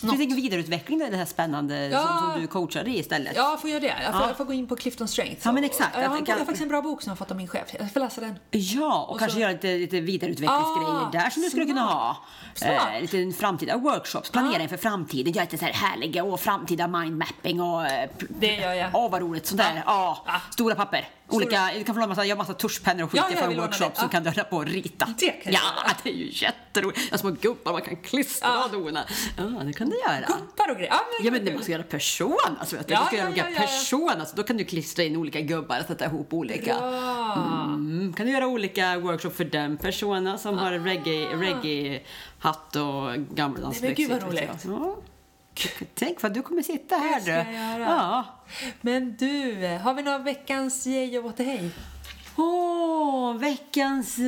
Speaker 1: Finns det ingen vidareutveckling av det här spännande som,
Speaker 2: Ja.
Speaker 1: som du coachade i istället?
Speaker 2: Ja, jag får göra det. Jag får,
Speaker 1: Ja.
Speaker 2: jag får gå in på Clifton Strength.
Speaker 1: Ja, men exakt.
Speaker 2: Jag, har,
Speaker 1: Att-
Speaker 2: jag har faktiskt en bra bok som jag har fått av min chef. Jag får läsa den.
Speaker 1: Ja, och, kanske
Speaker 2: så-
Speaker 1: göra lite, lite vidareutvecklingsgrejer
Speaker 2: Ah,
Speaker 1: där som du skulle kunna ha.
Speaker 2: Smart. Ah.
Speaker 1: Eh, lite framtida workshops, planering för framtiden, göra lite så här härliga och framtida mindmapping och... eh, pl-
Speaker 2: Det gör jag.
Speaker 1: Åh, vad roligt. Sånt där. Ja.
Speaker 2: Ja. Ah.
Speaker 1: Stora papper. Olika, du kan få låna massa, jag har massa tuschpennor och skit
Speaker 2: Ja, ja,
Speaker 1: för
Speaker 2: vi
Speaker 1: en
Speaker 2: lånar
Speaker 1: workshop
Speaker 2: det.
Speaker 1: så
Speaker 2: Ja.
Speaker 1: kan du hålla på och rita.
Speaker 2: Det kan
Speaker 1: ja,
Speaker 2: jag göra. Ah.
Speaker 1: det är ju jätteroligt. Jag har små gubbar man kan klistra
Speaker 2: Ja.
Speaker 1: och dona. Ja, det kan du göra.
Speaker 2: Guppar och grejer. Ja, men,
Speaker 1: Ja men man ska göra Alltså, personas vet du.
Speaker 2: Ja,
Speaker 1: du ska göra
Speaker 2: ja,
Speaker 1: olika
Speaker 2: ja, ja, ja.
Speaker 1: personas. Då kan du klistra in olika gubbar och sätta ihop olika.
Speaker 2: Bra.
Speaker 1: Mm, kan du göra olika workshop för den persona som har reggae, reggae-hatt och
Speaker 2: Ah. Nej, men
Speaker 1: gammeldansbyxor?
Speaker 2: gud, vad roligt.
Speaker 1: Ja. Tänk vad du kommer sitta här
Speaker 2: Det
Speaker 1: du.
Speaker 2: ska jag göra.
Speaker 1: Ja.
Speaker 2: Men du, har vi några veckans yay och återhej?
Speaker 1: Åh, veckans eh,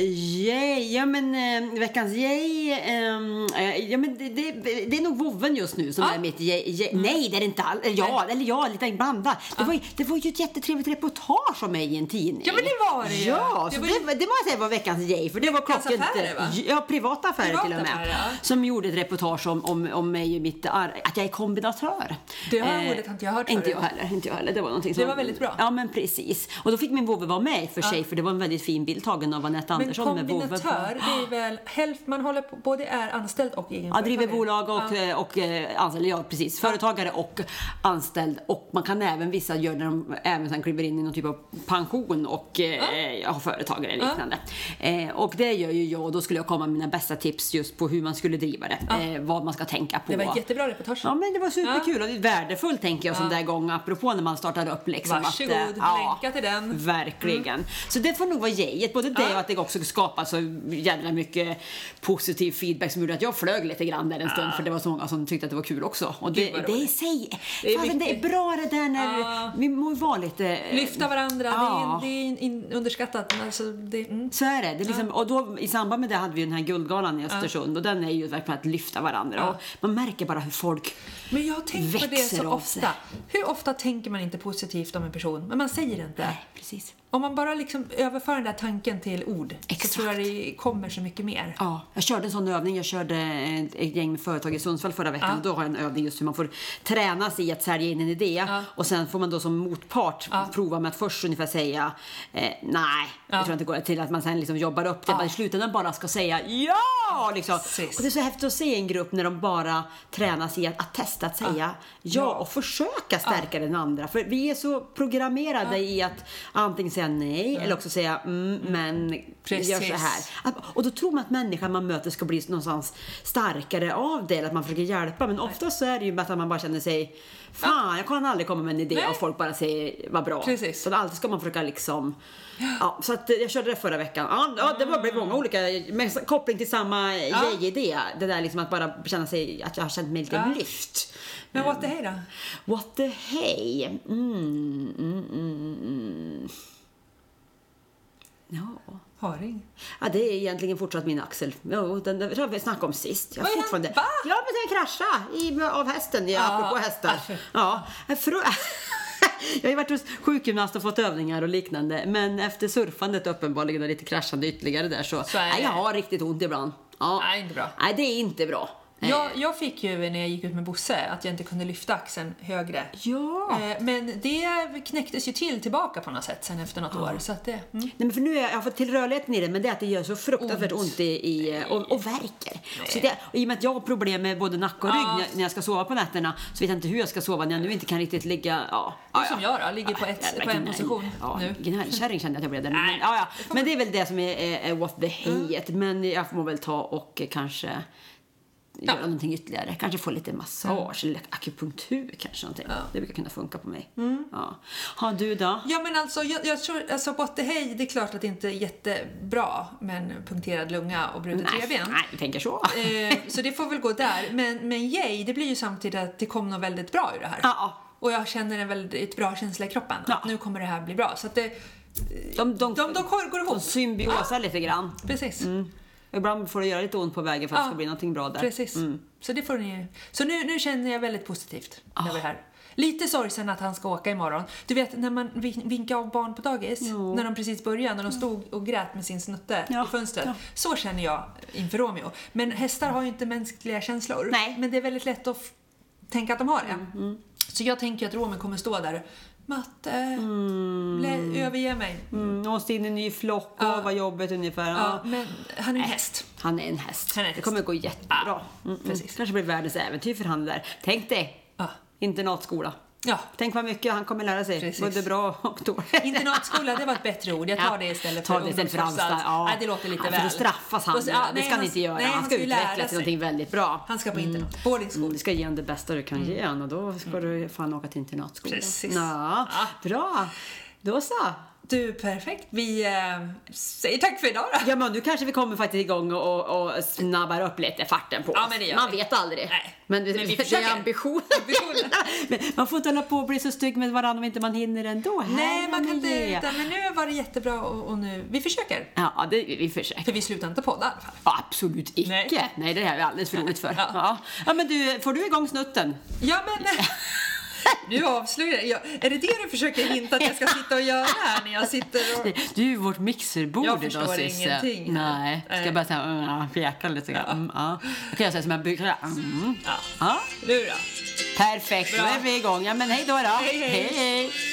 Speaker 1: yay. Ja, men eh, veckans yay. ehm, eh, ja, men det, det, det är nog vovven just nu som
Speaker 2: Ja. Mm.
Speaker 1: är mitt yay. yay. Nej, det är det inte alls. Eller Ja, eller ja, lite blandat. Det, var, ju- det var ju ett jättetrevligt reportage om mig i en tidning.
Speaker 2: Ja, men det var det ju.
Speaker 1: Ja,
Speaker 2: Det
Speaker 1: så
Speaker 2: var
Speaker 1: det,
Speaker 2: ju-
Speaker 1: det, måste jag säga var veckans yay. För det var
Speaker 2: Veckans
Speaker 1: klockrent.
Speaker 2: affärer, va?
Speaker 1: Ja, privata affärer till och med.
Speaker 2: Privata affärer, ja.
Speaker 1: Som gjorde ett reportage om, om, om mig och mitt ar- att jag är kombinatör. Eh,
Speaker 2: Det har ordet har inte jag hört
Speaker 1: Inte
Speaker 2: förut.
Speaker 1: jag heller. Inte jag heller. Det var någonting som...
Speaker 2: var väldigt bra.
Speaker 1: Ja, men precis. Och då fick min vovve vara med i och för sig, för det var en väldigt fin bild tagen av Anette
Speaker 2: Men
Speaker 1: Andersson med vovve på.
Speaker 2: kombinatör, det är väl hälften man håller på, både är anställd och
Speaker 1: Ja,
Speaker 2: egenföretagare?
Speaker 1: driver bolag och,
Speaker 2: Ja.
Speaker 1: eh, och, eh, anställd, ja precis, företagare och anställd och man kan även, vissa gör när de även sen kliver in i någon typ av pension och eh, ja. har företagare eller liknande. Eh, och det gör ju jag och då skulle jag komma med mina bästa tips just på hur man skulle driva det, eh, vad man ska tänka på.
Speaker 2: Det var ett jättebra reportage.
Speaker 1: Ja men det var superkul och det är värdefullt tänker jag sån där gång apropå när man startar upp liksom.
Speaker 2: Varsågod,
Speaker 1: eh,
Speaker 2: länka till den.
Speaker 1: Verkligen. Så det får nog vara gejet. Både det
Speaker 2: Ja.
Speaker 1: och att det också skapar så jävla mycket positiv feedback som gjorde att jag flög lite grann där en stund för det var så många som tyckte att det var kul också. Och det,
Speaker 2: Gud, vad
Speaker 1: det är i
Speaker 2: roligt.
Speaker 1: sig,
Speaker 2: Det är
Speaker 1: det är, Fasen, det är
Speaker 2: viktigt.
Speaker 1: bra det där när
Speaker 2: Ja.
Speaker 1: vi må ju vara lite...
Speaker 2: Lyfta varandra,
Speaker 1: Ja.
Speaker 2: det är, det är in, in, underskattat. men Alltså, det, mm.
Speaker 1: Så är det. det är liksom, Och då, I samband med det hade vi ju den här guldgalan i Östersund och den är ju verkligen att lyfta varandra.
Speaker 2: Ja.
Speaker 1: Och man märker bara hur folk
Speaker 2: Men jag har tänkt på det
Speaker 1: Växer
Speaker 2: så
Speaker 1: av sig.
Speaker 2: ofta. Hur ofta tänker man inte positivt om en person, men man säger det inte?
Speaker 1: Nej, precis.
Speaker 2: om man bara liksom överför den där tanken till ord
Speaker 1: Exakt.
Speaker 2: så tror jag det kommer så mycket mer.
Speaker 1: Ja, jag körde en sån övning. Jag körde ett, ett gäng med företag i Sundsvall förra veckan.
Speaker 2: Ja.
Speaker 1: Och då har jag en övning just hur man får träna sig i att sälja in en idé. Och sen får man då som motpart prova med att först ungefär säga eh, nej, jag tror inte det går. Till att man sen liksom jobbar upp det. Ja. I slutändan bara ska säga ja! Liksom.
Speaker 2: Precis.
Speaker 1: Och det är så häftigt att se en grupp när de bara tränas i att, att testa att säga ja. och försöka stärka den andra. För vi är så programmerade i att antingen säga nej eller också säga mm, men gör så
Speaker 2: Precis.
Speaker 1: här. Att- Och då tror man att människan man möter ska bli någonstans starkare av det, eller att man försöker hjälpa. Men oftast så är det ju att man bara känner sig, fan jag kan aldrig komma med en idé
Speaker 2: Nej.
Speaker 1: och folk bara säger vad bra.
Speaker 2: Precis.
Speaker 1: Så att alltid ska man försöka liksom, ja, så att eh, jag körde det förra veckan. Ja, ja det var- blev många olika, med s- koppling till samma grej-idé. Det där liksom att bara känna sig, att jag har känt mig lite
Speaker 2: Ja.
Speaker 1: lyft.
Speaker 2: Men what the hey då?
Speaker 1: What the hey? Mm, mm, mm, mm, mm. Ja.
Speaker 2: Haring.
Speaker 1: Ja, det är egentligen fortsatt min axel. Jo, den den har vi snackat om sist. Jag
Speaker 2: Vad är den?
Speaker 1: fortfarande...
Speaker 2: Va?
Speaker 1: Ja, men den kraschade i, av hästen, ja,
Speaker 2: Ja,
Speaker 1: apropå hästar.
Speaker 2: varför?
Speaker 1: Ja, fru... <laughs> Jag har ju varit hos sjukgymnast och fått övningar och liknande. Men efter surfandet uppenbarligen och lite kraschande ytterligare där så...
Speaker 2: Så är det.
Speaker 1: Nej, jag har riktigt ont ibland. Ja.
Speaker 2: Nej, inte bra.
Speaker 1: Nej, det är inte bra.
Speaker 2: Jag, jag fick ju när jag gick ut med Bosse att jag inte kunde lyfta axeln högre.
Speaker 1: Ja.
Speaker 2: Eh, Men det knäcktes ju till tillbaka på något sätt sen efter något år. Så att det, mm.
Speaker 1: Nej, men för nu är jag, jag har fått till rörligheten i det, men det är att det gör så fruktansvärt ont, i, i, och, och värker. Så det, och I och med att jag har problem med både nacke och rygg
Speaker 2: Ja.
Speaker 1: när, när jag ska sova på nätterna så vet jag inte hur jag ska sova när jag nu inte kan riktigt ligga... Ja,
Speaker 2: Det är
Speaker 1: ja,
Speaker 2: som
Speaker 1: ja.
Speaker 2: jag då, ligger på, ett,
Speaker 1: Jävla
Speaker 2: på en
Speaker 1: gnäll.
Speaker 2: position
Speaker 1: ja,
Speaker 2: nu.
Speaker 1: Gnällkärring kände jag att jag blev där. Men,
Speaker 2: Nej.
Speaker 1: ja, ja. men det är väl det som är, är, är what the
Speaker 2: Mm.
Speaker 1: hate. Men jag får väl ta och eh, kanske göra någonting ytterligare. Kanske få lite massage
Speaker 2: Mm.
Speaker 1: eller akupunktur kanske någonting. Det brukar kunna funka på mig.
Speaker 2: Mm.
Speaker 1: Ja. Har du då?
Speaker 2: Ja men alltså, jag, jag tror, alltså bottehej, det är klart att det inte är jättebra med en punkterad lunga och brutet
Speaker 1: Nej,
Speaker 2: revben.
Speaker 1: nej, jag tänker så.
Speaker 2: Eh, så det får väl gå där. Men, men yay, det blir ju samtidigt att det kom något väldigt bra ur det här.
Speaker 1: Ja.
Speaker 2: Och jag känner en väldigt bra känsla i kroppen.
Speaker 1: Ja.
Speaker 2: Att nu kommer det här bli bra. Så att det,
Speaker 1: De, de,
Speaker 2: de, de går
Speaker 1: de
Speaker 2: ihop.
Speaker 1: symbiosar lite grann.
Speaker 2: Precis.
Speaker 1: Och Ibland får det göra lite ont på vägen för att det ska
Speaker 2: Ja,
Speaker 1: bli någonting bra där.
Speaker 2: Precis.
Speaker 1: Mm.
Speaker 2: Så det får ni Så nu, nu känner jag väldigt positivt
Speaker 1: Ah.
Speaker 2: över det här. Lite sorgsen att han ska åka imorgon. Du vet när man vin- vinkar av barn på dagis, när de precis började, när de stod och grät med sin snutte
Speaker 1: Mm. Ja,
Speaker 2: i fönstret.
Speaker 1: ja.
Speaker 2: Så känner jag inför Romeo. Men hästar har ju inte mänskliga känslor.
Speaker 1: Nej. Mm,
Speaker 2: Men det är väldigt lätt att f- tänka att de har det. Så jag tänker att Romeo kommer stå där. Matte, lä- överge mig.
Speaker 1: Mm, och in i en ny flock och vad jobbet ungefär.
Speaker 2: Ja,
Speaker 1: Ja.
Speaker 2: men han är en häst.
Speaker 1: Han är en häst.
Speaker 2: Han är en
Speaker 1: Det
Speaker 2: häst.
Speaker 1: kommer gå jättebra.
Speaker 2: Ja,
Speaker 1: Mm, mm.
Speaker 2: precis.
Speaker 1: kanske blir världens äventyr för han där. Tänk dig
Speaker 2: Ja.
Speaker 1: internatskola.
Speaker 2: Ja.
Speaker 1: Tänk vad mycket han kommer lära sig.
Speaker 2: Precis.
Speaker 1: Både bra och dåligt.
Speaker 2: Internatskola, det var ett bättre ord. Jag tar
Speaker 1: <laughs> Ja.
Speaker 2: det istället
Speaker 1: Ta
Speaker 2: för
Speaker 1: det istället för
Speaker 2: ungdomsanstalt.
Speaker 1: anstalt. Ja.
Speaker 2: Nej, det låter lite
Speaker 1: ja,
Speaker 2: väl.
Speaker 1: För då straffas han.
Speaker 2: Och så- ja,
Speaker 1: det ska
Speaker 2: nej,
Speaker 1: han inte göra.
Speaker 2: nej,
Speaker 1: han ska
Speaker 2: ju
Speaker 1: utvecklas
Speaker 2: lära
Speaker 1: till
Speaker 2: sig.
Speaker 1: någonting väldigt bra.
Speaker 2: Han ska på internat. Boarding school.
Speaker 1: Mm, du ska ge honom det bästa du kan ge honom och då ska du fan åka till internatskolan.
Speaker 2: Mm. Precis. Ah.
Speaker 1: Ja, bra. Då så.
Speaker 2: Du, perfekt. Vi eh, säger tack för idag då.
Speaker 1: Ja, men nu kanske vi kommer faktiskt igång och, och, och snabbar upp lite farten på
Speaker 2: Ja,
Speaker 1: oss.
Speaker 2: men det gör
Speaker 1: Man
Speaker 2: vi.
Speaker 1: vet aldrig.
Speaker 2: Nej,
Speaker 1: Men, vi,
Speaker 2: men vi
Speaker 1: det
Speaker 2: försöker.
Speaker 1: är ambitionen.
Speaker 2: Ambitionen.
Speaker 1: <laughs> Men man får inte hålla på och bli så stygg med varandra om inte man hinner ändå.
Speaker 2: Nej, man kan inte...
Speaker 1: Herregud.
Speaker 2: utan- Men nu var det jättebra och, och nu... Vi försöker.
Speaker 1: Ja, det, vi försöker.
Speaker 2: För vi slutar inte podda i alla fall.
Speaker 1: Absolut icke. Nej.
Speaker 2: Nej.
Speaker 1: det här är vi alldeles för roligt för.
Speaker 2: Ja.
Speaker 1: Ja. ja, men du, får du igång snutten?
Speaker 2: Ja, men... eh, <laughs> Nu avslöjar jag. Är det det du försöker hinta att jag ska sitta och göra här när jag sitter och...
Speaker 1: Du är vårt mixerbord
Speaker 2: Jag
Speaker 1: idag,
Speaker 2: förstår
Speaker 1: Cissi.
Speaker 2: ingenting.
Speaker 1: Nej, ska
Speaker 2: Nej.
Speaker 1: jag bara säga mm, ja, fjäka lite grann. Mm, ja. Då kan jag säga som jag brukar. Mm.
Speaker 2: Ja,
Speaker 1: Ja,
Speaker 2: nu då?
Speaker 1: perfekt, då
Speaker 2: Bra.
Speaker 1: är vi igång. Ja, men hej då. då.
Speaker 2: hej.
Speaker 1: hej.